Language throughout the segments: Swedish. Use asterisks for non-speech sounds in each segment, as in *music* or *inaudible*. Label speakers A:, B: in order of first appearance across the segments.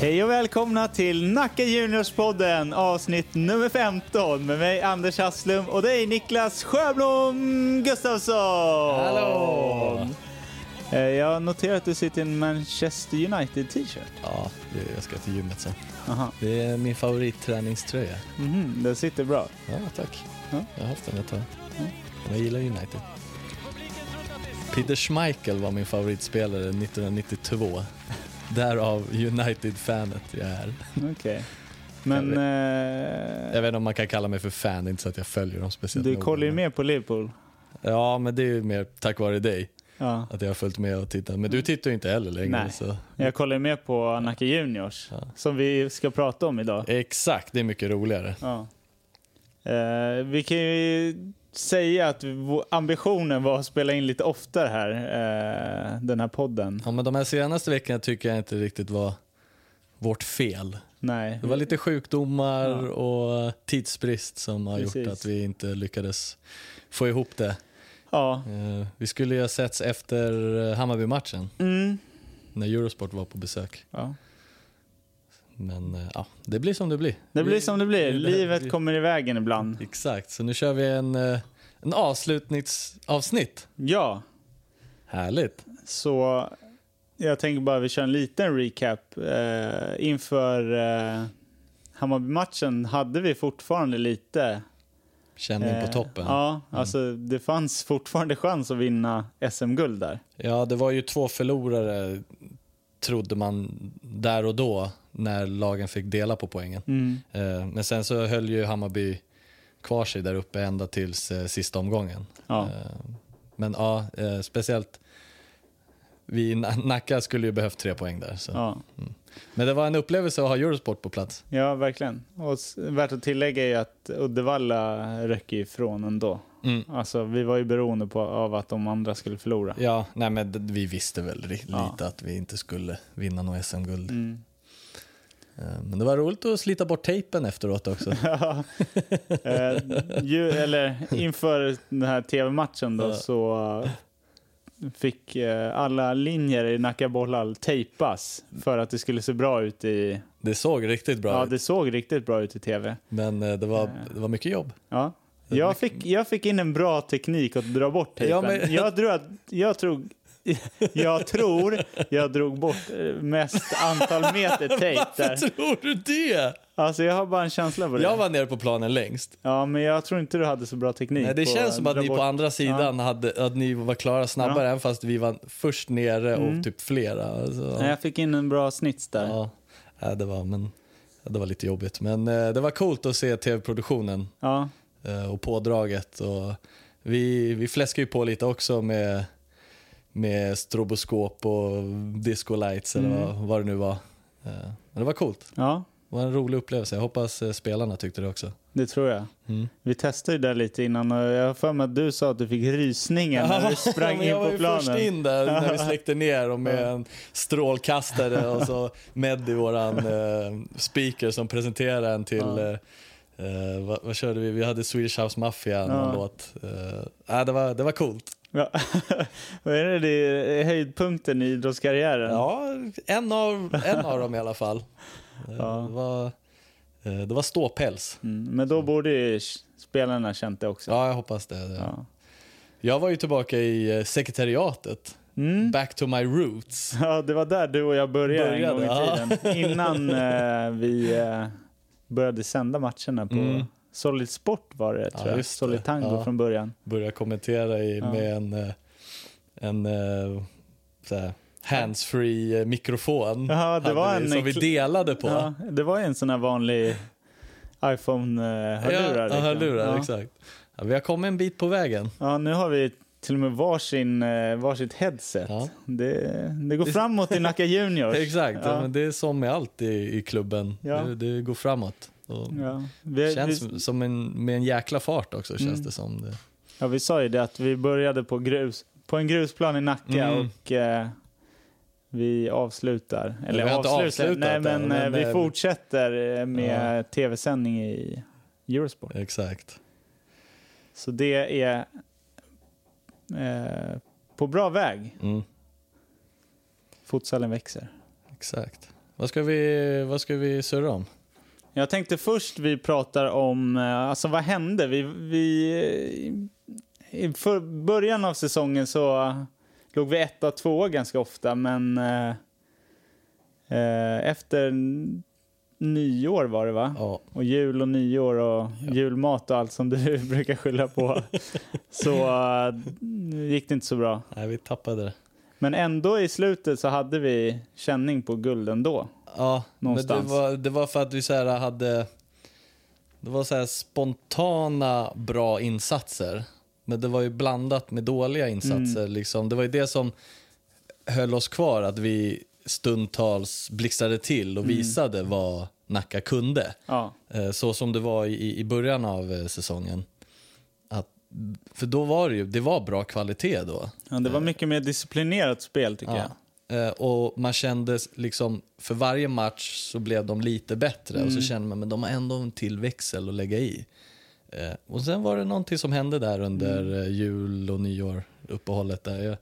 A: Hej och välkomna till Nacka Juniors-podden avsnitt nummer 15 med mig Anders Hasslum och dig Niklas Sjöblom Gustafsson!
B: Hallå!
A: Eh, Jag noterar att du sitter i en Manchester United-t-shirt.
B: Ja, det- jag ska till gymmet sen.
A: Aha.
B: Det är min favoritträningströja.
A: Mhm, den sitter bra.
B: Ja, tack.
A: Ja.
B: Jag har haft den ett tag. Jag gillar United. Peter Schmeichel var min favoritspelare 1992. Därav United-fanet jag är.
A: Okej. Men eh,
B: Jag vet inte om man kan kalla mig för fan, det är inte så att jag följer dem speciellt
A: du
B: noga,
A: kollar ju
B: men-
A: mer på Liverpool.
B: Ja, men det är ju mer tack vare dig
A: Ja.
B: att jag har följt med och tittat. Men du tittar ju inte heller längre.
A: Nej.
B: Så.
A: Jag kollar ju mer på Nacka Juniors som vi ska prata om idag.
B: Exakt, det är mycket roligare.
A: Ja. Eh, vi kan ju säga att vår ambitionen var att spela in lite oftare här, eh, den här podden.
B: Ja, men de här senaste veckorna tycker jag inte riktigt var vårt fel.
A: Nej,
B: Det var lite sjukdomar och tidsbrist som har gjort
A: Precis.
B: att vi inte lyckades få ihop det.
A: ja.
B: Eh, Vi skulle ju ha setts efter eh, Hammarby-matchen
A: Mm.
B: när Eurosport var på besök.
A: ja.
B: Men eh, ja, det blir som det blir.
A: Det blir
B: Vi-
A: som det blir.
B: vi-
A: Livet
B: vi-
A: kommer i vägen ibland.
B: Exakt, så nu kör vi en, eh, en avslutningsavsnitt.
A: Ja,
B: Härligt.
A: så jag tänker bara vi kör en liten recap. Eh, inför eh, Hammarby-matchen hade vi fortfarande lite...
B: Känning
A: eh,
B: på toppen. Mm. Ja.
A: Ja, alltså det fanns fortfarande chans att vinna SM-guld där.
B: det var ju två förlorare trodde man där och då när lagen fick dela på poängen.
A: Mm.
B: Eh, Men sen så höll ju Hammarby kvar sig där uppe ända tills eh, sista omgången.
A: Ja.
B: Eh, Men ja, eh, speciellt vi i Na- Nacka skulle ju behövt tre poäng där. Så.
A: Ja.
B: Men det var en upplevelse att ha Eurosport på plats.
A: Ja, verkligen. Och s- värt att tillägga är ju att Uddevalla rycker ju ifrån ändå.
B: Mm.
A: Alltså, vi var ju beroende på, av att de andra skulle förlora.
B: Ja, nej men d- vi visste väl ri-
A: Ja.
B: lite att vi inte skulle vinna något SM-guld.
A: Mm. *laughs*
B: Eh, Men det var roligt att slita bort tejpen efteråt också.
A: Ja. eh, ju, eller inför den här tv-matchen då
B: Ja.
A: så eh, fick eh, alla linjer i Nacka Bollhall tejpas för att det skulle se bra ut i...
B: Det såg riktigt bra
A: Ja,
B: ut,
A: det såg riktigt bra ut i tv.
B: men eh, det var, det var mycket jobb.
A: Ja.
B: Det är
A: Jag,
B: mycket-
A: fick, jag fick in en bra teknik att dra bort tejpen.
B: Ja, men-
A: Jag, tror att, jag, tror, jag tror jag drog bort eh, mest antal meter
B: *laughs*
A: tejp
B: Varför
A: där.
B: tror du det?
A: Alltså, jag har bara en känsla på Eh. det.
B: Jag var nere på planen längst.
A: Ja, men jag tror inte du hade så bra teknik.
B: Nej, det
A: på
B: känns som att
A: dra
B: ni
A: bort-
B: på andra sidan hade, att ni var klara snabbare, även fast vi var först nere och
A: Mm.
B: typ flera. Alltså,
A: Nej, jag fick in en bra snits där. Ja.
B: ja, Ja, det, var, men, ja, det var lite jobbigt, men eh, det var coolt att se tv-produktionen
A: Ja.
B: eh, och pådraget. Och vi, vi fläskade ju på lite också med, med stroboskop och disco lights eller
A: Mm.
B: vad, vad det nu var. Eh, men det var coolt. Det var en rolig upplevelse. Jag hoppas eh, spelarna tyckte det också.
A: det tror jag.
B: Mm.
A: Vi testade ju det lite innan och jag har för mig att du sa att du fick rysningar när du
B: *laughs* Ja,
A: sprang
B: men
A: in
B: jag var
A: på
B: ju
A: planen.
B: först in där
A: *laughs*
B: när vi släckte ner och med en strålkastare och så Meddi, våran eh, speaker som presenterade en till
A: Ja.
B: eh, eh, vad, vad körde vi? Vi hade Swedish House Mafia,
A: Ja.
B: någon låt. Eh, äh, det, var, det var coolt.
A: Ja. *laughs* Vad är det, det är höjdpunkten i idrottskarriären?
B: Ja, en av, en av dem i alla fall. Eh,
A: Ja.
B: Det, var, eh, det var ståpäls.
A: Mm, men då borde ju s- spelarna känt det också.
B: Ja, jag hoppas det.
A: Ja.
B: Jag var ju tillbaka i eh, sekretariatet,
A: Mm.
B: back to my roots.
A: ja, det var där du och jag började, en gång
B: Började,
A: i tiden. Innan eh, vi eh, började sända matcherna på
B: Mm.
A: Solid Sport var det,
B: Ja,
A: tror jag.
B: just det.
A: Solid Tango
B: Ja.
A: från början.
B: börja kommentera i,
A: Ja.
B: med en, eh, en eh, så här, handsfree eh, mikrofon
A: Ja, det
B: hade
A: var
B: vi,
A: en-
B: som vi delade på.
A: Ja, det var ju en sån här vanlig iPhone-hörlurar.
B: ja,
A: liksom.
B: hörlurar,
A: Ja.
B: exakt. Ja, vi har kommit en bit på vägen.
A: Ja, nu har vi till och med varsin, eh, varsitt headset.
B: Ja.
A: Det, det går framåt i Nacka Juniors.
B: *laughs* Exakt, ja.
A: Ja.
B: men det är som med allt i, i klubben.
A: Ja.
B: Det, det går framåt. Och
A: Ja. Vi, vi,
B: Känns som en, med en jäkla fart också, känns
A: Mm.
B: det som. Det.
A: ja, vi sa ju det att vi började på, grus, på en grusplan i Nacka
B: Mm.
A: och eh, vi avslutar. Eller
B: vi har inte
A: avslutar,
B: avslutat
A: nej
B: än,
A: men, eh,
B: men,
A: vi
B: eh,
A: fortsätter eh, med tv-sändning i Eurosport.
B: Exakt.
A: Så det är eh, på bra väg.
B: Mm.
A: Futsalen växer.
B: Exakt. Vad ska vi, vad ska vi surra om?
A: Jag tänkte först vi pratar om, eh, alltså vad hände? Vi, vi, eh, I för början av säsongen så eh, låg vi etta, tvåa ganska ofta, men eh, eh, efter n- nyår var det va?
B: Ja,
A: Och jul och nyår och julmat och allt som du *laughs* brukar skylla på. så eh, gick det inte så bra.
B: nej, vi tappade det.
A: Men ändå i slutet så hade vi känning på guld ändå.
B: Ja, men
A: Någonstans.
B: det var, det var för att vi så här hade... Det var så här spontana bra insatser. Men det var ju blandat med dåliga insatser. Liksom. Det var ju det som höll oss kvar, att vi stundtals blixtrade till och visade vad Nacka kunde.
A: Ja.
B: Eh, Så som det var i, i början av eh, säsongen. Att, för då var det ju, det var bra kvalitet då.
A: Ja, det var mycket mer disciplinerat spel tycker jag.
B: Eh, Och man kände s- liksom, för varje match så blev de lite bättre och så kände man men de har ändå en till växel att lägga i. Eh, Och sen var det någonting som hände där under eh, jul och nyår, uppehållet där. Jag,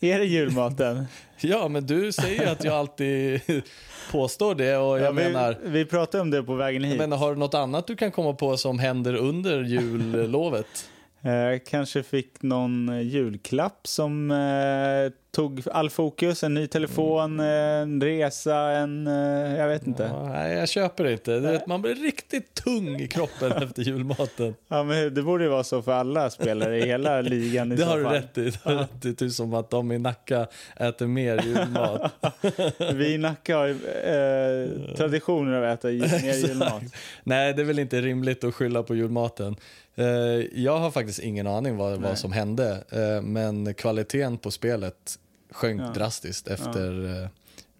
A: Är det julmaten?
B: ja men du säger ju att jag alltid *laughs* påstår det och *laughs* jag
A: Ja, vi,
B: menar,
A: vi pratade om det på vägen hit.
B: jag menar, har du något annat du kan komma på som händer under jullovet? *laughs*
A: Eh, kanske fick någon eh, julklapp som eh, tog all fokus. En ny telefon, eh, en resa, en... Eh, jag vet inte. Ja.
B: Mm. Ja, nej, jag köper det inte. Du vet, man blir riktigt tung i *laughs* kroppen efter julmaten.
A: men det borde ju vara så för alla spelare i
B: *laughs*
A: hela ligan i
B: Det
A: så
B: har du
A: fall.
B: rätt i. Det har du rätt i. Det är typ som att de i Nacka äter mer
A: *laughs*
B: julmat.
A: Vi i Nacka har ju eh, traditioner av att äta ju- mer julmat.
B: Nej, det är väl inte rimligt att skylla på julmaten. Eh, Jag har faktiskt ingen aning vad, vad som hände, eh, men kvaliteten på spelet sjönk
A: Ja.
B: drastiskt efter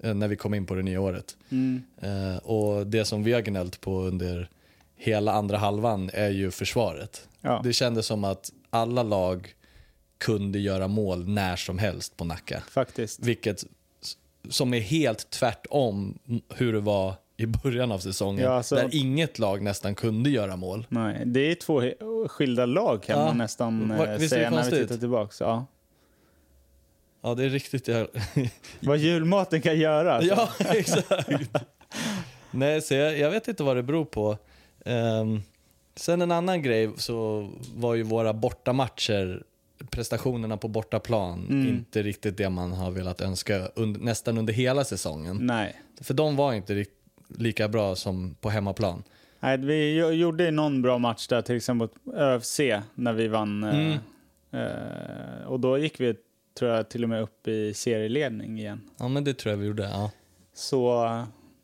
B: eh, när vi kom in på det nya året.
A: Mm.
B: Eh, Och det som vi har gnällt på under hela andra halvan är ju försvaret.
A: Ja.
B: Det kändes som att alla lag kunde göra mål när som helst på Nacka.
A: Faktiskt.
B: Vilket s- som är helt tvärtom hur det var i början av säsongen.
A: Ja, alltså-
B: Där inget lag nästan kunde göra mål.
A: Nej, det är två he- skilda lag kan
B: Ja.
A: man nästan eh,
B: Var- visst är det
A: säga när vi
B: konstigt?
A: tittar tillbaka. Ja.
B: Ja, det är riktigt jävla-
A: Vad julmaten kan göra. alltså.
B: *laughs* Ja, exakt. Nej, så jag, jag vet inte vad det beror på. Ehm, sen en annan grej så var ju våra bortamatcher, prestationerna på bortaplan,
A: Mm.
B: inte riktigt det man har velat önska und, nästan under hela säsongen.
A: Nej.
B: För de var inte rikt, lika bra som på hemmaplan.
A: Nej, vi ju- gjorde ju någon bra match där, till exempel mot ÖFC när vi vann. eh,
B: Mm.
A: eh, och då gick vi, tror jag, till och med upp i serieledning igen.
B: Ja, men det tror jag vi gjorde. Ja.
A: Så...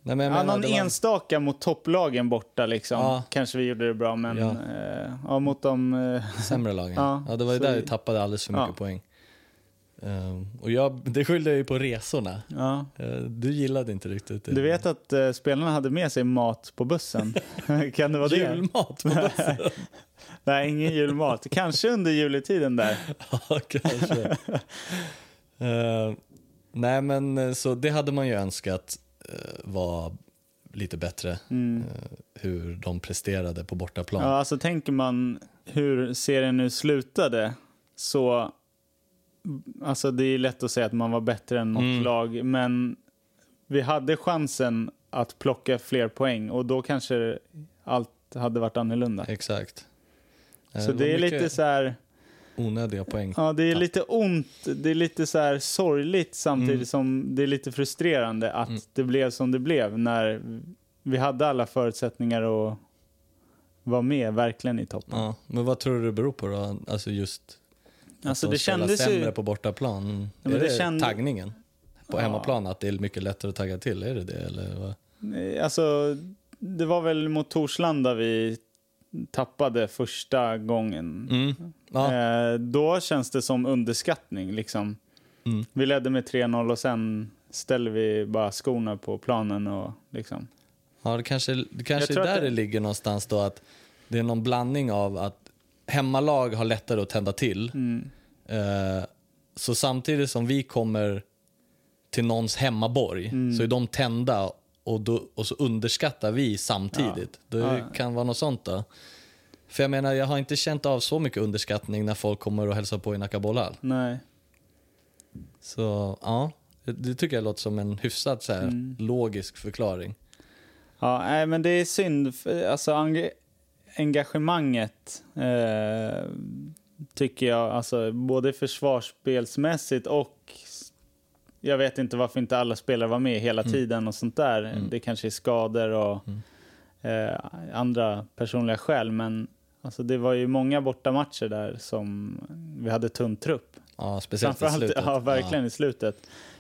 B: Nej, men jag
A: Ja,
B: menar,
A: någon
B: det var-
A: enstaka mot topplagen borta liksom.
B: Ja.
A: Kanske vi gjorde det bra, men
B: Ja.
A: eh, ja, mot dem... eh,
B: *laughs* sämre lagen. Ja,
A: Ja,
B: det var ju
A: så
B: där vi
A: vi-
B: tappade alldeles för mycket
A: Ja.
B: poäng. Ehm, och jag, det skyllde jag ju på resorna.
A: ja.
B: Eh, du gillade inte riktigt det.
A: Du vet att eh, spelarna hade med sig mat på
B: *laughs*
A: bussen? kan det vara det?
B: Julmat
A: *laughs*
B: på bussen?
A: Nej, ingen julmat. Kanske under juletiden där.
B: ja, kanske. Eh, nej, men eh, så det hade man ju önskat eh, var lite bättre. eh, hur de presterade på bortaplan.
A: Mm. Ja, alltså tänker man hur serien nu slutade så... Alltså det är lätt att säga att man var bättre än något
B: Mm.
A: lag, men vi hade chansen att plocka fler poäng och då kanske allt hade varit annorlunda.
B: Exakt. Eh,
A: Så
B: var
A: det är
B: mycket
A: lite så här,
B: onödiga poäng.
A: ja det är lite ont, det är lite så här sorgligt samtidigt
B: Mm.
A: som det är lite frustrerande att det blev som det blev när vi hade alla förutsättningar att vara med verkligen i toppen.
B: Ja, men vad tror du det beror på då? Alltså just
A: Alltså
B: de
A: det
B: spelar
A: kändes
B: sämre
A: ju...
B: på bortaplan.
A: men
B: är det,
A: det känd-
B: taggningen? På
A: Ja.
B: hemmaplan, att det är mycket lättare att tagga till? Är det det? Eller vad?
A: Eh, Alltså, det var väl mot Torslanda vi tappade första gången.
B: Mm. Ja.
A: Eh, då känns det som underskattning. Liksom.
B: Mm.
A: Vi ledde med 3-0 och sen ställer vi bara skorna på planen. Och, liksom.
B: Ja, det kanske, det kanske är
A: tror att
B: där det...
A: det-
B: ligger någonstans då att det är någon blandning av att hemmalag har lättare att tända till.
A: Mm,
B: Eh, så samtidigt som vi kommer till någons hemmaborg
A: Mm.
B: så är de tända och, då, och så underskattar vi samtidigt. Det kan vara något sånt då. För jag menar, jag har inte känt av så mycket underskattning när folk kommer och hälsar på i Nacka Bollar.
A: Nej.
B: Så ja, Det, det tycker jag låter som en hyfsat så här,
A: Mm.
B: logisk förklaring.
A: Ja, nej, men det är synd. För- Alltså, eng- engagemanget eh, tycker jag, alltså, både försvarsspelsmässigt och s- jag vet inte varför inte alla spelare var med
B: Mm.
A: hela tiden och sånt där. Det kanske är skador och
B: Mm.
A: eh, andra personliga skäl, men alltså, det var ju många bortamatcher där som vi hade tunn trupp.
B: Ja, speciellt i
A: Framförallt,
B: slutet.
A: ja, verkligen i slutet.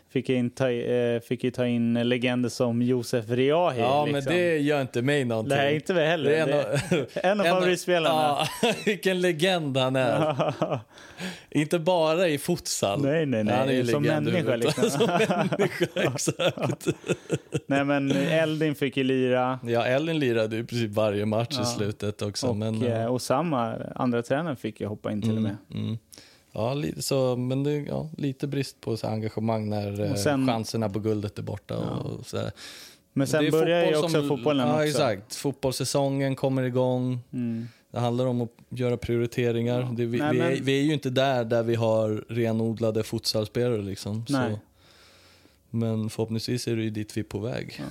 A: Fick, jag in ta, eh, fick ju ta in legender som Josef Riahi.
B: Ja, men
A: liksom.
B: det gör inte mig någonting.
A: Nej, inte vi heller.
B: Det är en
A: Det-
B: av-
A: en av
B: *laughs* en av-
A: favoritspelarna.
B: Ja, *laughs* vilken legend han är. Inte bara i futsal.
A: Nej, nej, nej.
B: Han är ju
A: Som
B: legend
A: människa,
B: överhuvudtaget.
A: liksom.
B: *laughs* Som
A: *laughs*
B: människa, exakt.
A: *laughs* Nej, men Eldin fick ju lira
B: Ja, Ellen lirade ju i princip varje match i slutet också.
A: och
B: men,
A: eh, Osama, andra tränaren, fick ju hoppa in till och med.
B: Mm. Ja, lite, så, men det, ja, lite brist på så här engagemang när eh,
A: Och sen-
B: chanserna på guldet är borta. Och så där.
A: Men sen
B: Det är
A: börjar ju
B: fotboll
A: också
B: som-
A: fotbollen
B: ja,
A: också.
B: Exakt. Fotbollssäsongen kommer igång.
A: Mm.
B: Det handlar om att göra prioriteringar. Det, vi,
A: Nej,
B: vi, är,
A: men-
B: vi är ju inte där där vi har renodlade futsalspelare. Liksom, så.
A: Nej.
B: Men förhoppningsvis är det ju dit vi är på väg.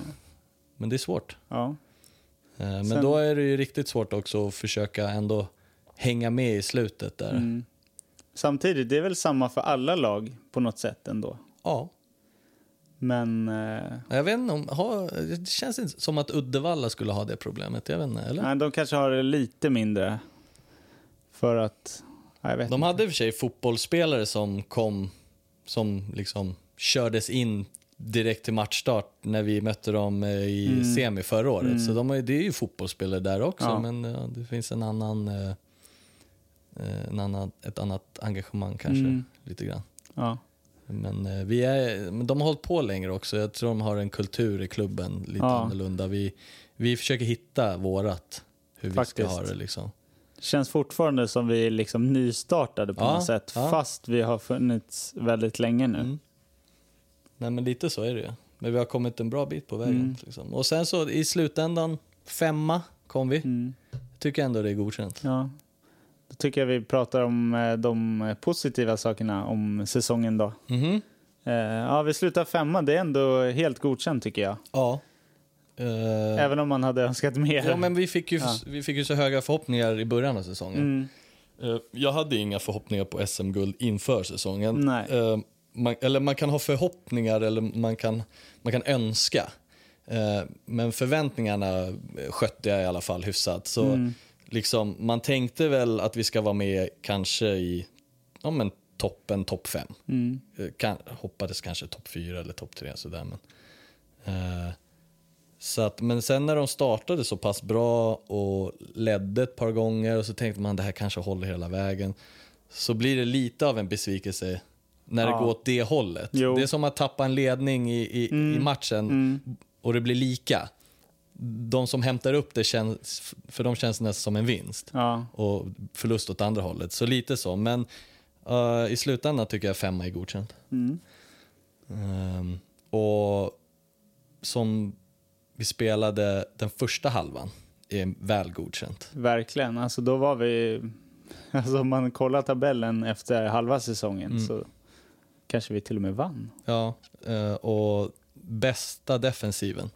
B: Men det är svårt.
A: Ja.
B: Eh, Men
A: Sen-
B: då är det ju riktigt svårt också att försöka ändå hänga med i slutet där.
A: Mm. Samtidigt, det är väl samma för alla lag på något sätt ändå.
B: Ja.
A: Men... Eh,
B: Jag vet inte om, ha, det känns inte som att Uddevalla skulle ha det problemet. Jag vet inte, eller?
A: nej, de kanske har det lite mindre. För att... Ja, jag vet
B: De
A: inte.
B: hade i och för sig fotbollsspelare som kom, som liksom kördes in direkt till matchstart när vi mötte dem eh, i semi förra året. Så de har, ju- det är ju fotbollsspelare där också,
A: Mm. Ja.
B: men ja, det finns en annan, eh, eh, en annan, ett annat engagemang kanske.
A: Mm.
B: lite grann.
A: Ja.
B: Men, eh, vi är, men de har hållit på längre också. Jag tror de har en kultur i klubben lite
A: Ja.
B: annorlunda. Vi, vi försöker hitta vårat, hur vi
A: Faktiskt.
B: ska ha det. Liksom.
A: Det känns fortfarande som vi är liksom nystartade på
B: Ja,
A: något sätt.
B: ja.
A: Fast vi har funnits väldigt länge nu.
B: Mm. Nej, men lite så är det ju. Men vi har kommit en bra bit på vägen. Liksom. Och sen så i slutändan, femma kom vi. Jag tycker ändå det är godkänt.
A: Mm, Ja. Då tycker jag vi pratar om eh, de eh, positiva sakerna om säsongen då.
B: Mhm.
A: Eh, Ja, vi slutar femma. Det är ändå helt godkänt tycker jag.
B: Ja. Eh,
A: Även om man hade önskat mer.
B: ja, men vi fick, ju, vi fick ju så höga förhoppningar i början av säsongen.
A: Mm.
B: Eh, Jag hade inga förhoppningar på SM-guld inför säsongen.
A: Nej.
B: Eh, Man, eller man kan ha förhoppningar eller man kan, man kan önska. Eh, Men förväntningarna skötte jag i alla fall hyfsat. Så
A: Mm.
B: liksom, man tänkte väl att vi ska vara med kanske i ja, men toppen, topp fem.
A: Mm.
B: Eh, Kan, hoppades kanske topp fyra eller topp tre. Sådär, men, eh, så att, men sen när de startade så pass bra och ledde ett par gånger och så tänkte man det här kanske håller hela vägen. Så blir det lite av en besvikelse när
A: Ja.
B: det går åt det hållet.
A: Jo. Mm.
B: Det är som att tappa en ledning i, i, i matchen och det blir lika. De som hämtar upp det, känns, för de känns nästan som en vinst
A: Ja.
B: och förlust åt andra hållet. Så lite så, men eh, i slutändan tycker jag femma är godkänt. Ehm, och som vi spelade den första halvan är väl godkänt.
A: Verkligen. Alltså då var vi... *laughs* Alltså om man kollar tabellen efter halva säsongen
B: Mm.
A: så kanske vi till och med vann.
B: Ja, eh, och bästa defensiven.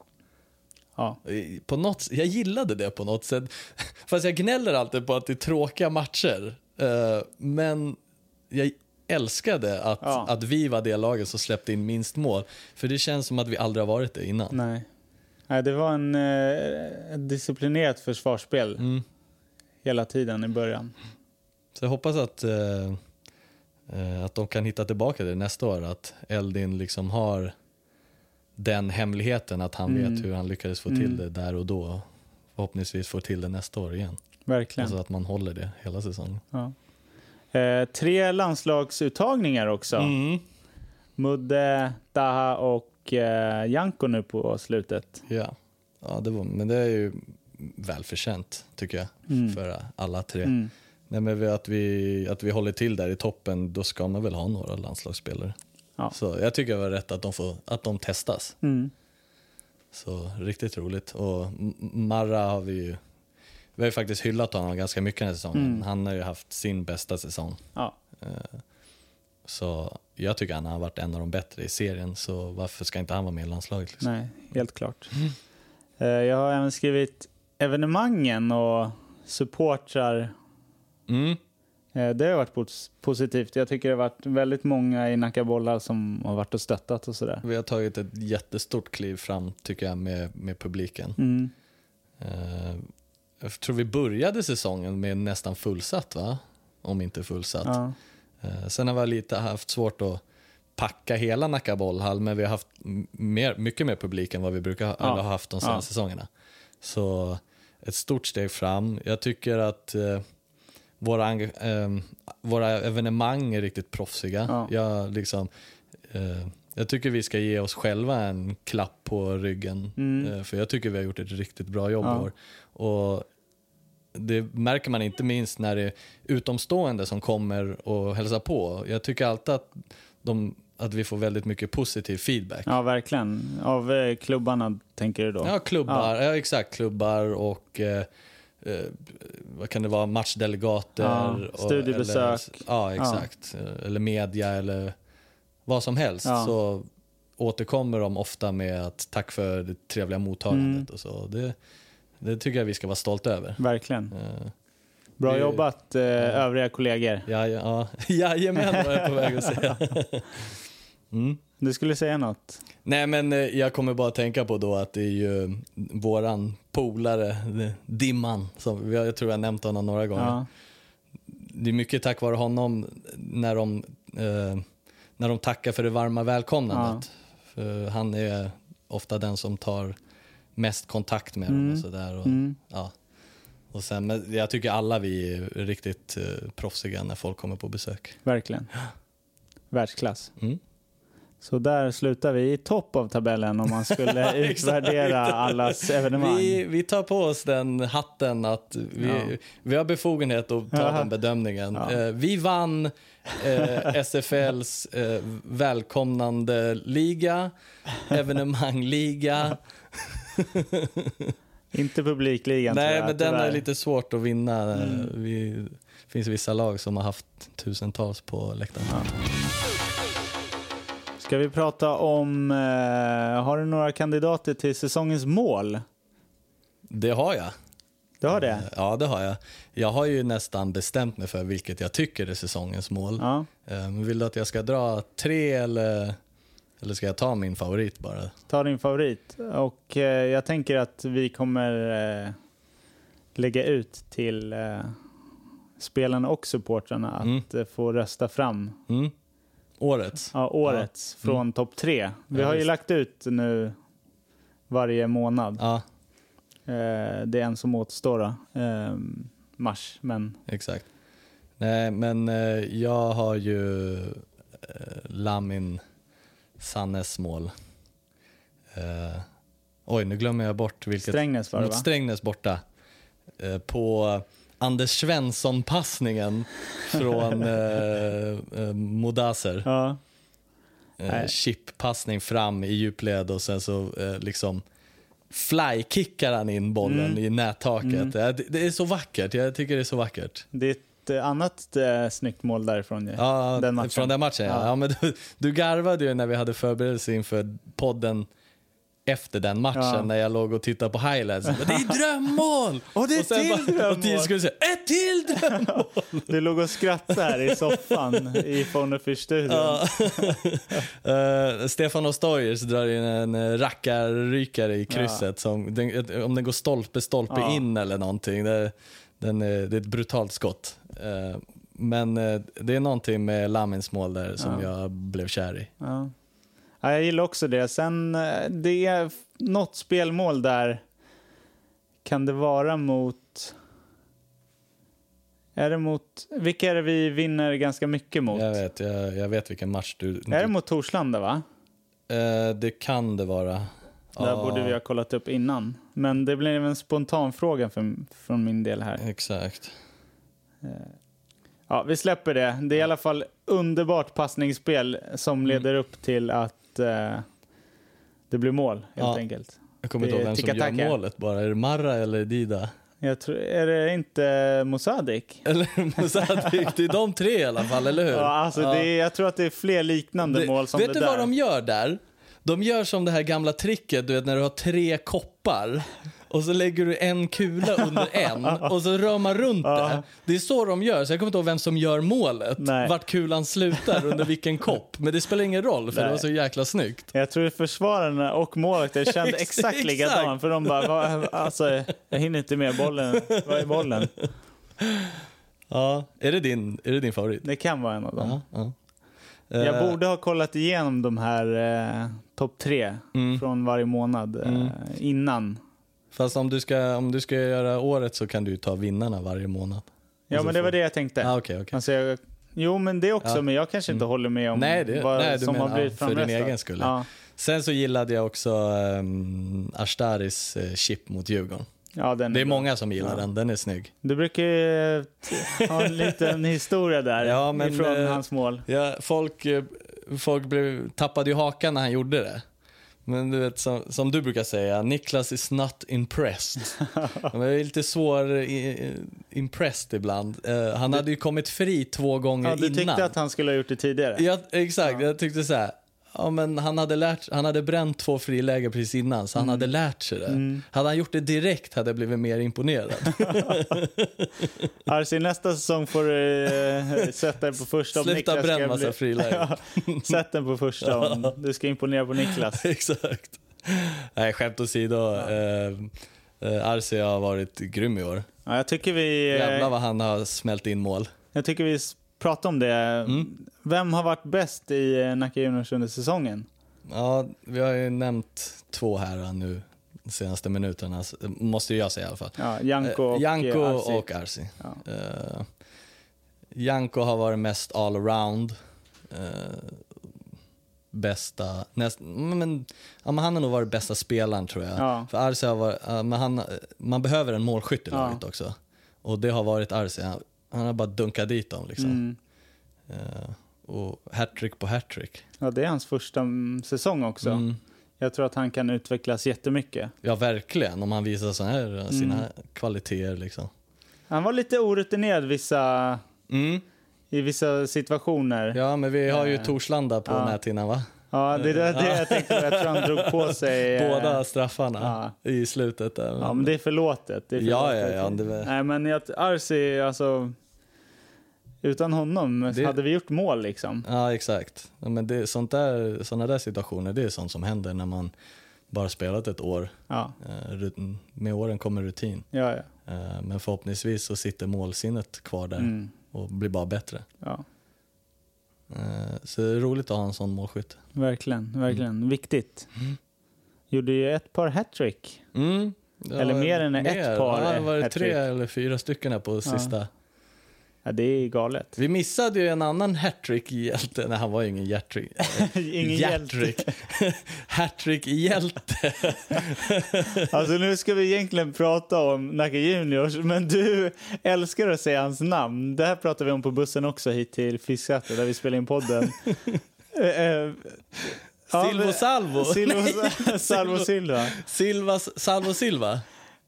A: Ja.
B: I- På något, jag gillade det på något sätt. *laughs* Fast jag gnäller alltid på att det är tråkiga matcher. Eh, Men jag älskade att,
A: Ja.
B: att vi var det laget som släppte in minst mål. För det känns som att vi aldrig har varit det innan.
A: Nej. Nej, det var en eh, ett disciplinerat försvarsspel
B: Mm.
A: hela tiden i början.
B: Så jag hoppas att, eh, eh, att de kan hitta tillbaka det nästa år. Att Eldin liksom har den hemligheten att han vet hur han lyckades få till det där och då. Förhoppningsvis får till det nästa år igen.
A: Verkligen.
B: Alltså att man håller det hela säsongen.
A: Ja. Eh, tre landslagsuttagningar också.
B: Mm.
A: Mudde, Taha och eh, Janko nu på slutet.
B: Ja, ja det var, men det är ju välförtjänt tycker jag för alla tre.
A: Mm.
B: Nej, men vi- att, vi, att vi håller till där i toppen, då ska man väl ha några landslagsspelare.
A: Ja.
B: Så jag tycker det var rätt att de, får, att de testas.
A: Mm.
B: Så riktigt roligt. Och M- Marra har vi ju, vi har ju faktiskt hyllat honom ganska mycket den här säsongen. Han har ju haft sin bästa säsong.
A: Ja.
B: Så jag tycker han har varit en av de bättre i serien, så varför ska inte han vara med i landslaget? Liksom?
A: Nej, helt klart. Eh, Jag har även skrivit evenemangen och supportrar.
B: Mm.
A: Eh, Det har varit pos- positivt. Jag tycker det har varit väldigt många i Nackabollar som har varit och stöttat och sådär.
B: Vi har tagit ett jättestort kliv fram tycker jag med, med publiken.
A: Mm.
B: Eh, jag tror vi började säsongen med nästan fullsatt, va? om inte fullsatt.
A: Ja.
B: Eh, Sen har vi lite haft svårt att packa hela Nacka bollhall, men vi har haft m- mer, mycket mer publik än vad vi brukar ha,
A: Ja.
B: eller har haft de senaste säsongerna. Så ett stort steg fram. Jag tycker att eh, våra, enga- ehm, våra evenemang är riktigt proffsiga.
A: Ja.
B: Jag, liksom, eh, jag tycker vi ska ge oss själva en klapp på ryggen,
A: Mm.
B: eh, för jag tycker vi har gjort ett riktigt bra jobb i
A: Ja.
B: år. Och det märker man inte minst när det är utomstående som kommer och hälsar på. Jag tycker alltid att, de, att vi får väldigt mycket positiv feedback. Ja,
A: ja, verkligen. Av eh, klubbarna tänker du då?
B: klubbar, ja. exakt, klubbar och eh, eh, vad kan det vara, matchdelegater.
A: Ja,
B: och-
A: studiebesök.
B: Eller, ja, exakt. Eh, Eller media eller vad som helst.
A: Ja.
B: Så återkommer de ofta med att tack för det trevliga mottagandet
A: Mm.
B: och så. Det, det tycker jag vi ska vara stolta över.
A: Verkligen.
B: Eh,
A: Bra
B: Det-
A: jobbat eh, övriga kollegor.
B: Ja, ja, ja. *laughs* Jajamän var jag på väg
A: *laughs*
B: att säga. Mm.
A: Du skulle säga något?
B: Nej men eh, jag kommer bara tänka på då att det är ju mm, våran polare eh, Dimman, som vi har- jag tror jag har nämnt honom några gånger.
A: Ja.
B: Det är mycket tack vare honom när de, eh, när de tackar för det varma välkomnandet. För han är ofta den som tar mest kontakt med dem och sådär. Och,
A: Mm.
B: ja. och sen, men jag tycker alla vi är riktigt eh, proffsiga när folk kommer på besök.
A: Verkligen. Världsklass.
B: Mm.
A: Så där slutar vi i topp av tabellen om man skulle
B: *laughs*
A: utvärdera allas evenemang.
B: Vi, vi tar på oss den hatten att vi,
A: Ja.
B: vi har befogenhet att ta den bedömningen. Eh, vi vann
A: *laughs*
B: eh, SFLs eh, välkomnande liga, evenemangliga.
A: Inte publikligan
B: Nej,
A: tyvärr,
B: men den är
A: tyvärr. Mm.
B: lite svårt att vinna. Eh, Vi, det finns vissa lag som har haft tusentals på läktaren.
A: Ska vi prata om... Eh, har du några kandidater till säsongens mål?
B: Det har jag.
A: Du har det?
B: Ja, det har jag. Jag har ju nästan bestämt mig för vilket jag tycker är säsongens mål.
A: Ja.
B: Eh, men Vill du att jag ska dra tre eller, eller ska jag ta min favorit bara?
A: Ta din favorit. Och eh, jag tänker att vi kommer eh, lägga ut till eh, spelarna och supportrarna att
B: Mm.
A: eh, få rösta fram
B: Mm. Årets?
A: ja, årets från topp tre. Vi
B: Mm. Ja,
A: har ju
B: visst.
A: lagt ut nu varje månad.
B: Ja,
A: Eh, det är en som återstår då. Eh, mars, men
B: exakt. Nej, men eh, jag har ju eh, Lamin Sannes mål. Eh, oj, nu glömmer jag bort vilket.
A: Strängnäs var det
B: mot
A: va?
B: Strängnäs borta. Eh, på Anders Svensson-passningen
A: *laughs*
B: från eh, eh, Modaser.
A: Ja.
B: eh,
A: Nej.
B: chippassning fram i djupled och sen så eh, liksom flykickar han in bollen
A: Mm.
B: i nättaket. Ja, det, det är så vackert. Jag tycker det är så vackert.
A: Det är ett eh, annat eh, snyggt mål därifrån ju.
B: Ja,
A: Den matchen.
B: Från den matchen, ja.
A: Ja.
B: ja men du, du garvade ju när vi hade förberedelse inför podden efter den matchen
A: Ja.
B: när jag låg och tittade på highlights. Jag Bara, det är drömmål!
A: *laughs* Och det är till drömmål!
B: Och till skulle säga, ett till drömmål!
A: Du låg och skrattade här i
B: *laughs*
A: soffan i Fonnefish-studion.
B: Ja. *laughs* Eh, Stefan Ostojers drar in en eh, rackarrykare i krysset. Som, den, ett- om den går stolpe, stolpe
A: Ja.
B: in eller någonting. Det, den, är- det är ett brutalt skott. Eh, men eh, det är någonting med Lamins mål där som jag blev kär i.
A: Ja. Ja, jag gillar också det. Sen, eh, det är f- något spelmål där. Kan det vara mot... Är det mot... Vilka är det vi vinner ganska mycket mot?
B: Jag vet, jag, jag vet vilken match du...
A: Är det mot Torslanda, va?
B: Eh, det kan det vara.
A: Där borde vi ha kollat upp innan. Men det blev en spontan fråga för, från min del här.
B: Exakt.
A: Ja, vi släpper det. Det är i alla fall underbart passningsspel
B: Mm.
A: som leder upp till att eh, det blir mål, helt
B: Ja.
A: enkelt.
B: Jag kommer
A: Det
B: inte ihåg
A: är
B: vem som gör
A: tiki-taka.
B: målet bara. Är det Marra eller Dida?
A: Jag tror, är det inte Mosadic?
B: Eller *laughs* Mosadic. Det är de tre i alla fall, eller hur?
A: Ja, alltså Det är, jag tror att det är fler liknande
B: Det-
A: mål som
B: vet
A: det
B: du
A: där.
B: vad de gör där? De gör som det här gamla tricket, du vet när du har tre koppar och så lägger du en kula *laughs* under en och så rör man runt det. Det är så de gör, så jag kommer inte ihåg vem som gör målet.
A: Nej.
B: Vart kulan slutar under *laughs* vilken kopp. Men det spelar ingen roll för det
A: Nej.
B: var så jäkla snyggt.
A: Jag tror försvararna och
B: *laughs*
A: målvakten kände
B: Ex-
A: exakt
B: exakt.
A: likadant. För de bara, "Va- alltså, jag hinner inte med bollen. Var är bollen?
B: Ja. Är, det din, är det din favorit?
A: Det kan vara en av dem.
B: Ja, ja.
A: Jag
B: Eh,
A: borde ha kollat igenom de här eh, topp tre
B: Mm.
A: från varje månad eh,
B: Mm.
A: innan.
B: Fast om du, ska, om du ska göra året så kan du ju ta vinnarna varje månad.
A: Ja,
B: Och så
A: men det var
B: får-
A: det jag tänkte.
B: Ah, okay, okay.
A: Alltså, jag, jo, men det också,
B: Ja. Mm.
A: men jag kanske inte håller med om
B: Nej, det-
A: vad
B: nej, du
A: som
B: menar,
A: har blivit
B: ja, för din
A: framröstat.
B: egen skull.
A: Ja,
B: Sen så gillade jag också um, Ashtaris eh, chip mot Djurgården.
A: ja den
B: Det är
A: bra.
B: många som gillar
A: Ja.
B: den, den är snygg.
A: Du brukar ju t- ha en
B: *laughs*
A: liten historia där
B: Ja, men,
A: ifrån
B: eh,
A: hans mål.
B: Ja, folk eh, folk blev, tappade ju hakan när han gjorde det. Men du vet, som, som du brukar säga, Niklas is not impressed. *laughs* Han är lite svår i, impressed ibland. Eh, han hade ju kommit fri två gånger
A: Ja, du
B: innan.
A: tyckte att han skulle ha gjort det tidigare?
B: Ja, exakt. Jag tyckte så här. Ja, men han, hade lärt, han hade bränt två friläger precis innan, så han hade lärt sig det. Hade han gjort det direkt hade jag blivit mer imponerad.
A: Arsi, nästa säsong får du eh, sätta dig på första om
B: Sluta
A: Niklas ska
B: bränna massa
A: bli...
B: friläger.
A: *laughs* Ja, Sätt den på första om du ska imponera på Niklas.
B: *laughs* exakt. Nej, skämt åsido. Eh, eh, Arce har varit grym i år.
A: Ja, jag, tycker vi,
B: Jävlar
A: eh,
B: vad han har smält in mål.
A: jag tycker vi s- pratar om det.
B: Mm.
A: Vem har varit bäst i eh, Nacka Juniors under säsongen?
B: Ja, vi har ju nämnt två här nu de senaste minuterna, så- måste ju jag säga i alla fall.
A: Ja, Janko
B: Eh,
A: och
B: Janko
A: eh, Arsi.
B: och Arsi.
A: Ja.
B: Eh, Janko har varit mest allround. Eh, bästa, näst, mm, men, ja, men han har nog varit bästa spelaren tror jag.
A: Ja.
B: För Arsi har varit, ja, men han, man behöver en målskytt i
A: Ja.
B: laget också. Och det har varit Arsi. Han, han har bara dunkat dit dem liksom.
A: Mm.
B: Eh, och hattrick på hattrick.
A: Ja, det är hans första mm, säsong också.
B: Mm.
A: Jag tror att han kan utvecklas jättemycket.
B: Ja verkligen, om han visar såna här, sina
A: Mm.
B: kvaliteter liksom.
A: Han var lite orutinerad vissa,
B: Mm.
A: i vissa situationer. Ja,
B: Ja men vi har ju
A: Eh.
B: Torslanda på
A: Ja.
B: näthinnan va?
A: det är det, det jag tänkte. Jag tror han drog på
B: *laughs*
A: sig... eh,
B: Båda straffarna i slutet. Där.
A: Ja, men det är förlåtet. Det är
B: Ja,
A: förlåtet.
B: ja, ja, det var-
A: Nej, men jag, Arsi, alltså... Utan honom
B: Det-
A: hade vi gjort mål liksom.
B: Ja, exakt. Ja, men det, sånt där, såna där situationer, det är sånt som händer när man bara spelat ett år.
A: Ja,
B: Eh, rut- Med åren kommer rutin.
A: ja, ja.
B: Eh, Men förhoppningsvis så sitter målsinnet kvar där
A: Mm,
B: och blir bara bättre.
A: ja.
B: Eh, Så det är roligt att ha en sån målskytt.
A: Verkligen, verkligen.
B: Mm.
A: Viktigt. Gjorde ju ett par hattrick.
B: Mm. Det har
A: Eller
B: varit
A: mer än ett par
B: Ja, det var det tre
A: hattrick.
B: eller fyra stycken här på sista.
A: Ja, det är
B: *laughs*
A: galet.
B: Vi missade ju en annan hattrick-hjälte. Nej, han var ju ingen hjärtrick.
A: Ingen hjälte.
B: *laughs* Hattrick-hjälte.
A: Alltså nu ska vi egentligen prata om Nacka Juniors, men du älskar att säga hans namn. Det här pratade vi om på bussen också hit till Fisksätra där vi spelade in podden.
B: *laughs*
A: Eh, eh, ja,
B: Silvo
A: men-
B: Salvo. *laughs*
A: Silvo, Salvo Silva.
B: Silvas, Salvo Silva.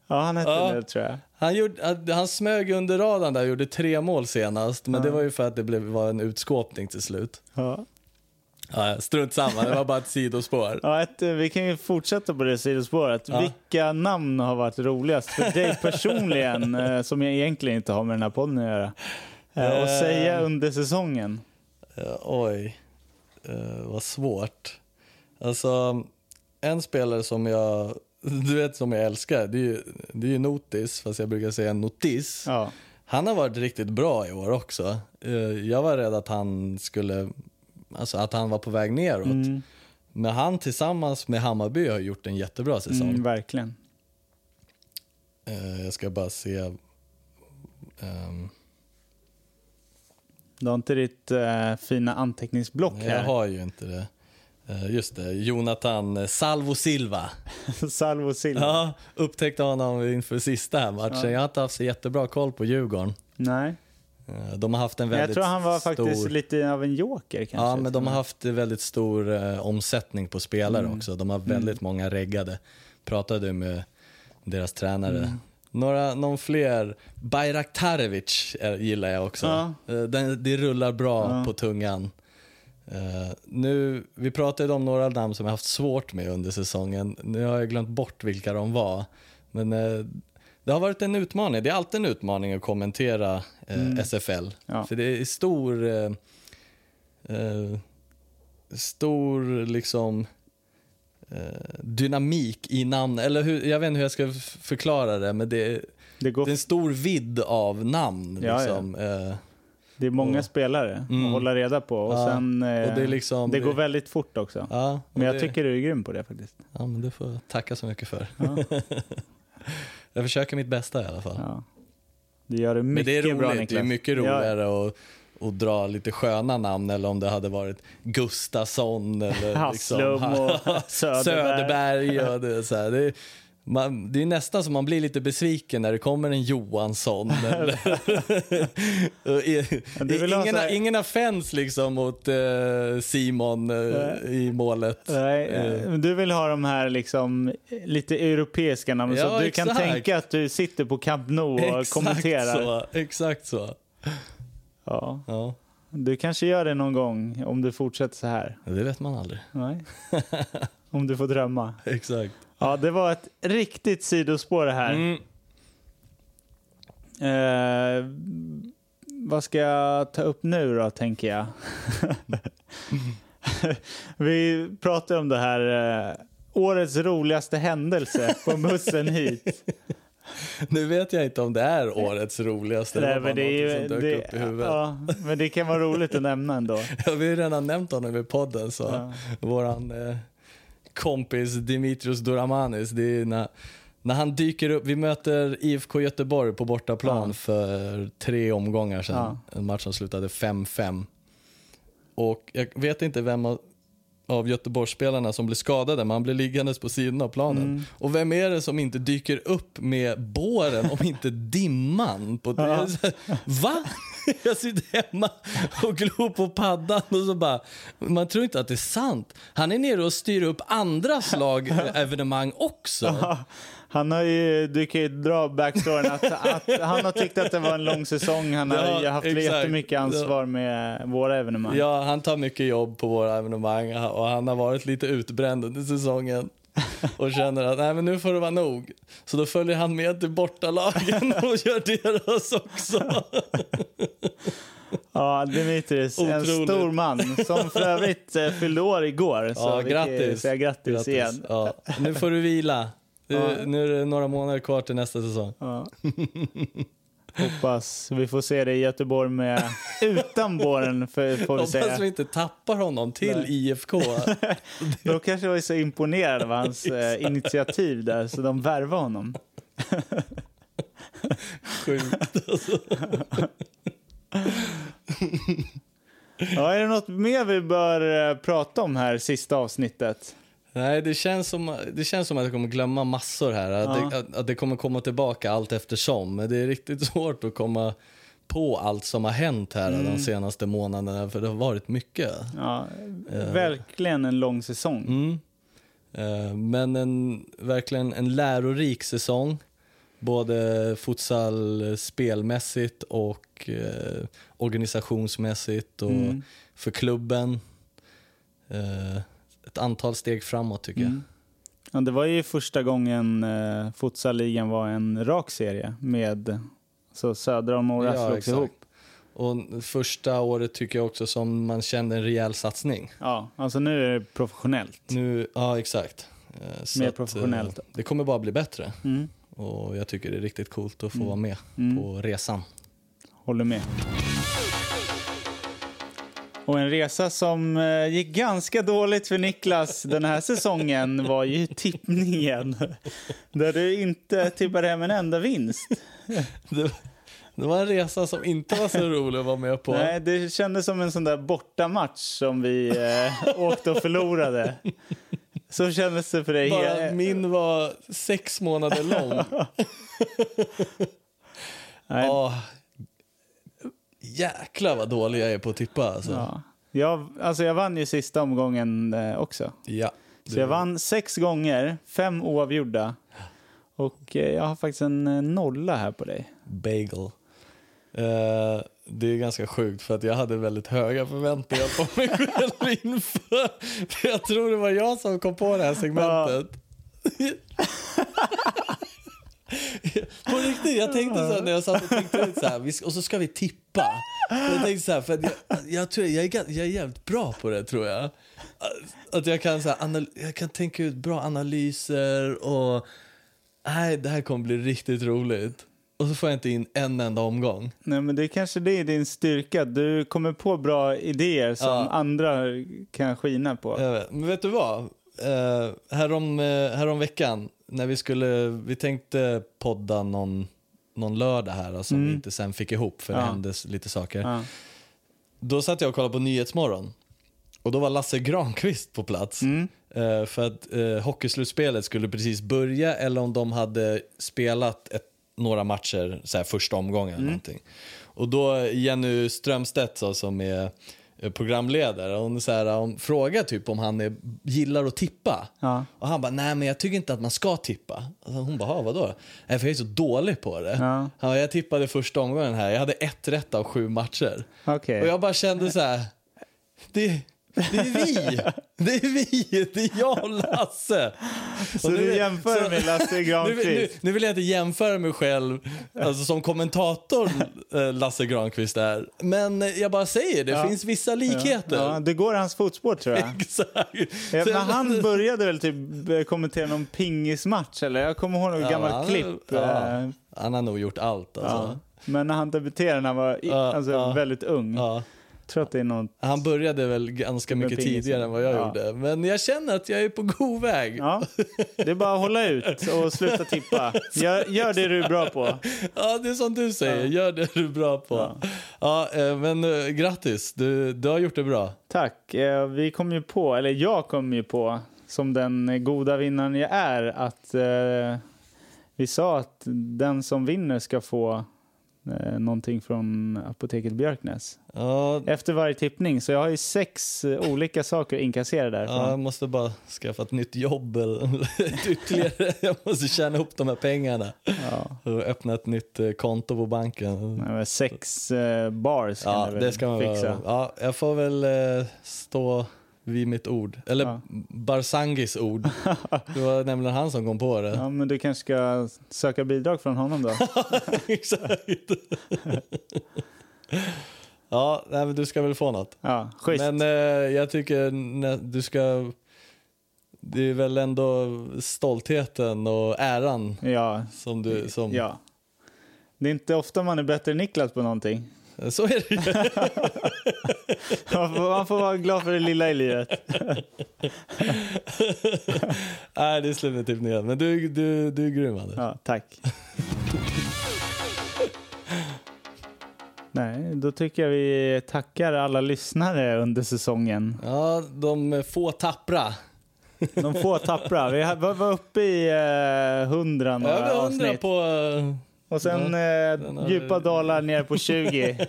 A: Ja, han hette
B: Ja.
A: det tror jag.
B: Han, gjorde, han- han smög under radarn där och gjorde tre mål senast, men det var ju för att det blev, var en utskåpning till slut.
A: Ja.
B: Ja, strunt samma, det var bara ett sidospår.
A: *laughs* Ja, ett, eh, vi kan ju fortsätta på det sidospåret.
B: Ja.
A: Vilka namn har varit roligast för dig
B: *laughs*
A: personligen, eh, som jag egentligen inte har med den här podden att göra? Eh, och
B: Eh.
A: säga under säsongen.
B: Eh, oj, uh, vad svårt. Alltså, en spelare som jag, du vet som jag älskar, det är ju, det är ju Notis, fast jag brukar säga Notis.
A: Ja.
B: Han har varit riktigt bra i år också. Eh, Jag var rädd att han skulle, alltså att han var på väg neråt.
A: Mm.
B: Men han tillsammans med Hammarby har gjort en jättebra säsong.
A: Mm, verkligen.
B: Eh, Jag ska bara se. ehm,
A: Du har inte ditt eh, fina anteckningsblock
B: nej, jag
A: här.
B: har ju inte det. Eh, Just det, Jonathan eh, Salvo Silva.
A: *laughs* Salvo Silva.
B: Ja, *laughs* upptäckte honom inför sista här matchen. Jag har inte haft så jättebra koll på Djurgården.
A: Nej.
B: Eh, De har haft en
A: Men
B: väldigt
A: jag tror han var
B: stor...
A: faktiskt lite av en joker kanske.
B: Ja, men de har haft väldigt stor eh, omsättning på
A: Mm. Mm.
B: spelare också. De har väldigt många reggade. Pratade med deras tränare Några, någon fler. Bajraktarevic eh, gillar jag också.
A: Ja.
B: Eh, Den, det rullar bra på tungan. Eh, nu, vi pratade om några namn som jag haft svårt med under säsongen. Nu har jag glömt bort vilka de var. Men eh, det har varit en utmaning. Det är alltid en utmaning att kommentera eh, SFL.
A: Mm. Ja.
B: För det är stor... Eh, eh, stor liksom eh, dynamik i namn. Eller hur, jag vet inte hur jag ska f- förklara det, men det,
A: Det,
B: det
A: går,
B: är en stor vidd av namn.
A: Ja, ja.
B: liksom. Eh,
A: det är många spelare
B: Mm.
A: att hålla reda på. Och
B: Ja,
A: sen, eh,
B: och det är liksom-
A: det går
B: det-
A: väldigt fort också.
B: Ja, och
A: Men jag
B: det-
A: tycker du är grym på det faktiskt.
B: Ja, men det får jag tacka så mycket för. *laughs* jag försöker mitt bästa i alla fall.
A: Ja. Du gör det
B: men
A: mycket
B: det är
A: bra
B: roligt.
A: Niklas.
B: Det är mycket roligare eh, att och dra lite sköna namn eller om det hade varit Gustafsson eller
A: Hasslum
B: liksom, *laughs*
A: och Söderberg.
B: Söderberg och det, så här. Det, är- man, det är nästan som man blir lite besviken när det kommer
A: *laughs*
B: en Johansson. Eller, *laughs* Och i-
A: Men du vill ha
B: ingen,
A: så här-
B: ingen offense liksom mot eh, Simon eh,
A: Nej.
B: i målet.
A: Nej, eh, men du vill ha de här liksom, lite europeiska namnen så
B: Ja,
A: att du kan
B: exakt.
A: tänka att du sitter på Camp Nou och kommenterar.
B: så. Exakt så.
A: Ja.
B: Ja,
A: Du kanske gör det någon gång om du fortsätter så här.
B: det vet man aldrig. *laughs*
A: Nej. om du får drömma.
B: Exakt.
A: Ja, det var ett riktigt sidospår det här.
B: Mm.
A: Eh, vad ska jag ta upp nu då, tänker jag? *laughs* Vi pratade om det här eh, årets roligaste händelse på bussen hit.
B: Nu vet jag inte om det är årets roligaste. Det
A: Nej,
B: var bara
A: men, det är
B: någonting
A: ju,
B: som dök
A: det,
B: upp i huvudet.
A: ja, men det kan vara roligt att nämna ändå.
B: Ja, vi har ju redan nämnt honom i podden. Så
A: Ja.
B: Våran eh, kompis Dimitrios Doramanis, det är när, när han dyker upp. Vi möter IFK Göteborg på bortaplan
A: Ja.
B: för tre omgångar sedan. En match som slutade 5-5. Och jag vet inte vem av, av Göteborgsspelarna som blir skadade, men han blir liggandes på sidan av planen. Och vem är det som inte dyker upp med båren om inte dimman? På, jag är så här, Va? *laughs* Jag sitter hemma och glor på paddan och så bara, man tror inte att det är sant. Han är nere och styr upp andra slag eh, evenemang också.
A: Han har ju, du kan ju dra backstoryn att, att han har tyckt att det var en lång säsong. Han har
B: Ja,
A: ju haft
B: exakt.
A: jättemycket ansvar med våra evenemang.
B: Ja, han tar mycket jobb på våra evenemang och han har varit lite utbränd
A: *laughs*
B: under säsongen och känner att Nej, men nu får det vara nog. Så då följer han med
A: *laughs*
B: till bortalagen och gör deras också.
A: Ja, Dimitris, en
B: Otroligt.
A: stor man som för övrigt eh, fyllde år igår.
B: Ja,
A: vi kan ju
B: grattis.
A: Säga grattis, igen.
B: Ja. Nu får du vila. Du, Nu är det några månader kvar till nästa säsong.
A: Ja. Hoppas vi får se dig i Göteborg med, utan båren för, får vi
B: Hoppas vi
A: säga.
B: inte tappar honom till
A: Nej.
B: IFK.
A: *laughs* De kanske var så imponerade av hans
B: *laughs*
A: eh, initiativ där så de värvade honom.
B: Sjukt.
A: Ja, är det något mer vi bör eh, prata om här sista avsnittet?
B: Nej, det känns, som, det känns som att jag kommer glömma massor här. Att,
A: Ja.
B: det, att, att det kommer komma tillbaka allt eftersom. Men det är riktigt *laughs* svårt att komma på allt som har hänt här
A: Mm.
B: de senaste månaderna. För det har varit mycket.
A: Ja, verkligen en lång säsong.
B: Eh. Mm. Eh, Men en, verkligen en lärorik säsong. Både futsal spelmässigt och eh, organisationsmässigt och
A: Mm.
B: för klubben. Eh, ett antal steg framåt tycker
A: Mm. Ja, det var ju första gången eh, futsal-ligan var en rak serie med så Södra och
B: jag.
A: Mora slogs
B: exakt.
A: ihop.
B: Och första året tycker jag också som man kände en rejäl satsning.
A: Ja, alltså nu är det professionellt.
B: Nu, ja exakt. Eh, så
A: Mer
B: att, eh,
A: professionellt.
B: Det kommer bara bli bättre
A: Mm.
B: och jag tycker det är riktigt coolt att få vara med på resan.
A: Håller med. Och en resa som eh, gick ganska dåligt för Niklas den här säsongen var ju tippningen. *laughs* Där du inte tippade hem en enda vinst.
B: Det, det var en resa som inte var så rolig att vara med på.
A: Nej, det kändes som en sån där bortamatch som vi eh, åkte och förlorade. Så kändes det för dig.
B: Bara
A: Eh,
B: min var sex månader lång.
A: *laughs* Nej.
B: Åh, jäklar vad dålig jag är på att tippa. Alltså. Ja.
A: Ja. Jag, alltså jag vann ju sista omgången eh, också. Så jag vann sex gånger, fem oavgjorda. Och eh, jag har faktiskt en eh, nolla här på dig.
B: Bagel. Eh, det är ganska sjukt för att jag hade väldigt höga förväntningar på mig *laughs* själv inför. För jag tror det var jag som kom på det här segmentet. på riktigt, jag tänkte så här när jag satt och tänkte ut så här, vi ska- och så ska vi tippa. Jag tänkte så här, för att jag, jag, tror, jag, är, gan- jag är jävligt bra på det tror jag. Att jag kan, så här, anal- jag kan tänka ut bra analyser och Nej, det här kommer bli riktigt roligt. Och så får jag inte in en enda omgång.
A: Nej, men det är kanske det är din styrka. Du kommer på bra idéer som
B: Ja.
A: andra kan skina på.
B: Jag vet. Men vet du vad? Uh, härom, eh, härom veckan när vi skulle, vi tänkte podda någon, någon lördag här alltså, som vi inte sen fick ihop för det
A: Ja.
B: hände s- lite saker.
A: Ja.
B: Då satt jag och kollade på Nyhetsmorgon och då var Lasse Granqvist på plats.
A: Mm.
B: Eh, för att uh, hockeyslutspelet skulle precis börja eller om de hade spelat ett, några matcher, så här, första omgången
A: Mm.
B: eller någonting. Och då Jenny Strömstedt så, som är eh, programledare, hon, så här, hon frågar typ om han är, gillar att tippa.
A: Ja.
B: Och han bara, nej men jag tycker inte att man ska tippa. Och hon bara, "Ha, vadå? Nej för jag är så dålig på det.
A: Ja.
B: Han bara, jag tippade första omgången här, jag hade ett rätt av sju matcher.
A: Okej.
B: Och jag bara kände så här, det, det är vi! Det är vi! Det är jag och Lasse!
A: Så
B: Och
A: du jämför
B: så-
A: med Lasse
B: *laughs* nu, vill- nu,
A: Granqvist?
B: nu vill jag inte jämföra mig själv alltså, som kommentator eh, Lasse Granqvist är. Men eh, jag bara säger, det
A: Ja.
B: finns vissa likheter.
A: Ja, det går i hans fotspår tror
B: *laughs*
A: jag.
B: Exakt.
A: Ja,
B: *laughs* Så
A: men
B: jag-
A: Eh, han började väl typ kommentera någon pingismatch eller? Jag kommer ihåg något
B: Ja,
A: gammalt
B: han-
A: klipp.
B: ja.
A: eh,
B: Han har nog gjort allt.
A: Ja.
B: Alltså.
A: Men när han debuterade när han var i-
B: Ja,
A: alltså,
B: ja.
A: väldigt ung.
B: Ja.
A: tror att det är någon...
B: Han började väl ganska
A: Med
B: mycket
A: pingisen.
B: tidigare än vad jag
A: Ja.
B: gjorde. Men jag känner att jag är på god väg. Ja. *laughs*
A: Ja, det är bara att hålla ut och sluta tippa. Gör, gör det du är bra på.
B: det är som du säger, gör det du är bra på. Ja. eh, men eh, grattis, du, du har gjort det bra.
A: Tack. Eh, Vi kom ju på, eller jag kom ju på, som den goda vinnaren jag är, att eh, vi sa att den som vinner ska få eh, någonting från apoteket Björknäs.
B: Ja,
A: Efter varje tippning, så jag har ju sex eh, olika saker inkasserade
B: ja,
A: därifrån.
B: jag måste bara skaffa ett nytt jobb eller *laughs* ett ytterligare. Jag måste tjäna ihop de här pengarna
A: Ja.
B: och öppna ett nytt eh, konto på banken.
A: Nej, men Sex eh, bars kan
B: Ja,
A: jag väl
B: det ska man
A: fixa.
B: göra. Ja, jag får väl eh, stå vid mitt ord. Eller
A: Ja.
B: Barzangis *laughs* ord. Det var nämligen han som kom på det.
A: Ja, men du kanske ska söka bidrag från honom då?
B: *laughs* Exakt. *laughs* ja, nej, men du ska väl få något.
A: Ja, schysst.
B: Men eh, jag tycker nä- du ska... Det är väl ändå stoltheten och äran
A: Ja,
B: som du... Som,
A: ja. Det är inte ofta man är bättre än Niklas på någonting.
B: *laughs*
A: *laughs*
B: Så är det ju.
A: Man får, man får vara glad för det lilla i livet.
B: Nej, det är slutnoteringen. Men du, du, du är grym, Anders.
A: Ja,
B: *laughs*
A: tack. Nej, då tycker jag vi tackar alla lyssnare under säsongen.
B: Ja, de få tappra.
A: De få tappra. Vi ha- var var uppe i eh, 100 några
B: Ja, jag undrar
A: avsnitt.
B: på... eh,
A: Och sen
B: har-
A: eh, djupa dalar ner på 20.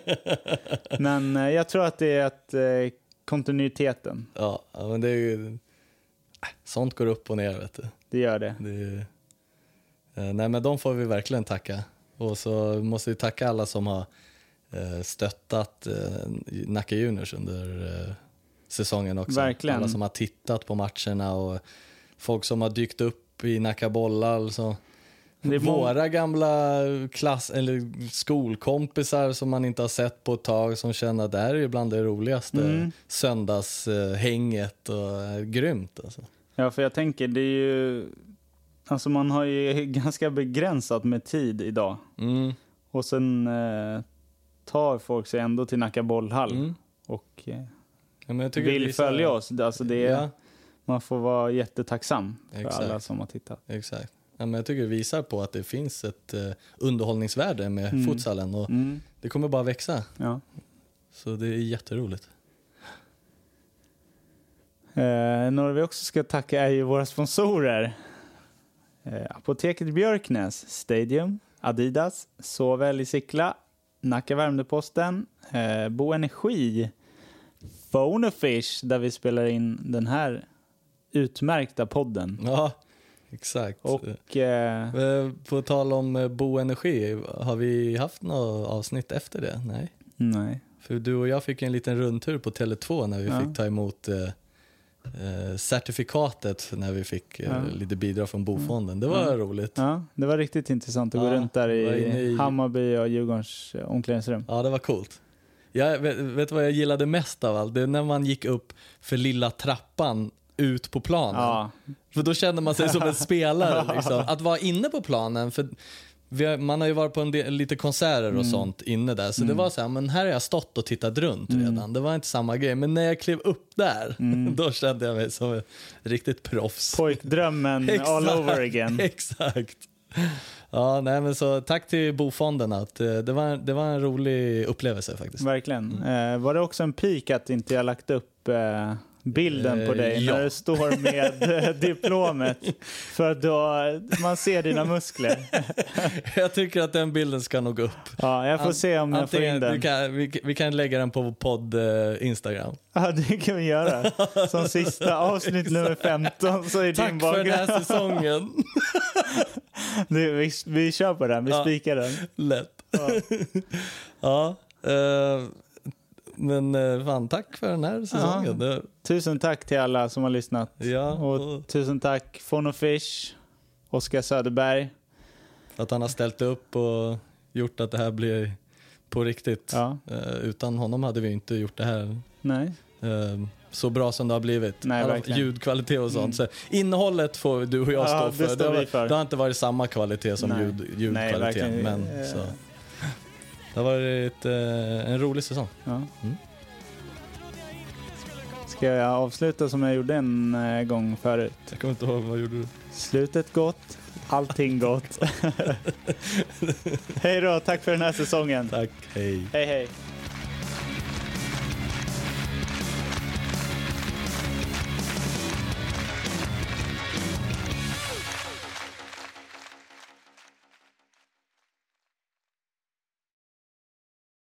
A: Men eh, jag tror att det är att, eh, kontinuiteten.
B: Ja, ja, men det är ju... äh, Sånt går upp och ner, vet du.
A: Det gör det.
B: Det är, eh, nej, men de får vi verkligen tacka. Och så måste vi tacka alla som har eh, stöttat eh, Nacka Juniors under eh, säsongen också.
A: Verkligen.
B: Alla som har tittat på matcherna och folk som har dykt upp i Nacka bollar. Alltså.
A: Det är mång-
B: Våra gamla klass eller skolkompisar som man inte har sett på ett tag som känner att det här är ju bland det roligaste
A: Mm.
B: söndagshänget. Och, eh, grymt alltså.
A: Ja, för jag tänker, det är ju... Alltså man har ju *laughs* ganska begränsat med tid idag.
B: Mm.
A: Och sen eh, tar folk sig ändå till Nacka bollhall
B: Mm.
A: och eh,
B: Ja, men jag tycker det
A: vill
B: visar-
A: följa oss. Alltså det är,
B: Ja.
A: Man får vara jättetacksam för
B: Exakt.
A: alla som har tittat.
B: Exakt. Ja, men jag tycker det visar på att det finns ett eh, underhållningsvärde med futsalen och
A: Mm.
B: det kommer bara växa.
A: Ja.
B: Så det är jätteroligt.
A: Eh, några vi också ska tacka är ju våra sponsorer. Eh, Apoteket Björknäs, Stadium, Adidas, Såväl i Sickla, Nacka Värmdöposten, eh, Bo Energi, Phonefish där vi spelar in den här utmärkta podden.
B: Ja, Exakt.
A: Och eh,
B: Eh, På tal om eh, boenergi, har vi haft något avsnitt efter det? Nej.
A: nej.
B: För du och jag fick en liten rundtur på Tele2 när vi
A: Ja.
B: fick ta emot eh, eh, certifikatet när vi fick eh,
A: Ja. Mm.
B: lite bidrag från Bofonden. Det var roligt. Ja.
A: Ja, det var riktigt intressant att gå
B: Ja,
A: runt där
B: var inne
A: i
B: i-
A: Hammarby och Djurgårdens eh, omklädningsrum.
B: det var coolt. Jag, vet, vet du vad jag gillade mest av allt? Det är när man gick upp för lilla trappan ut på planen.
A: Ja,
B: För då känner man sig som en spelare. Liksom. Att vara inne på planen, för vi har, man har ju varit på en del, lite konserter och sånt inne där. Så det var så här, men här har jag stått och tittat runt redan. Det var inte samma grej. Men när jag klev upp där, *laughs* då kände jag mig som ett riktigt proffs. *laughs*
A: pojkdrömmen all over again.
B: Exakt. Ja, nej, men så, tack till Bofonden. Att, eh, det, var, det var en rolig upplevelse faktiskt. Mm.
A: Verkligen. Eh, var det också en pik att inte jag lagt upp eh, bilden på
B: Eh,
A: dig
B: ja.
A: när du står med
B: *laughs*
A: eh, diplomet? För att då, man ser dina muskler.
B: *laughs* Jag tycker att den bilden ska nog upp.
A: Ja, jag får
B: An-
A: se om jag får in
B: antingen-
A: den.
B: du kan, vi, vi kan lägga den på vår podd eh, Instagram.
A: Ja, det kan vi göra. Som sista avsnitt nummer 15 så är din
B: Tack för den
A: bakgrund. *laughs*
B: här säsongen.
A: Du, vi, vi kör på den, vi
B: Ja.
A: spikar den.
B: Lätt. *laughs* Ja. eh, men eh, fan, tack för den här säsongen. Det-
A: Tusen tack till alla som har lyssnat.
B: Ja, och
A: Och tusen tack Fono Fish, Oskar Söderberg.
B: att han har ställt upp och gjort att det här blir på riktigt.
A: Ja,
B: Eh, utan honom hade vi inte gjort det här
A: nej.
B: eh, så bra som det har blivit.
A: Nej,
B: Alla-
A: verkligen. Mm.
B: Ljudkvalitet och sånt. Så innehållet får du och jag
A: Ja,
B: stå
A: det
B: för.
A: står
B: har,
A: vi för.
B: det har inte varit samma kvalitet som
A: Nej.
B: ljud,
A: Nej,
B: ljudkvalitet.
A: verkligen.
B: men,
A: Eh.
B: så. Det har varit eh, en rolig säsong.
A: Ja.
B: Mm.
A: Ska jag avsluta som jag gjorde en eh, gång förut?
B: Jag kommer inte ihåg, vad gjorde du?
A: Slutet gott, allting gott. *laughs* hej då, tack för den här säsongen.
B: Tack, hej.
A: Hej hej.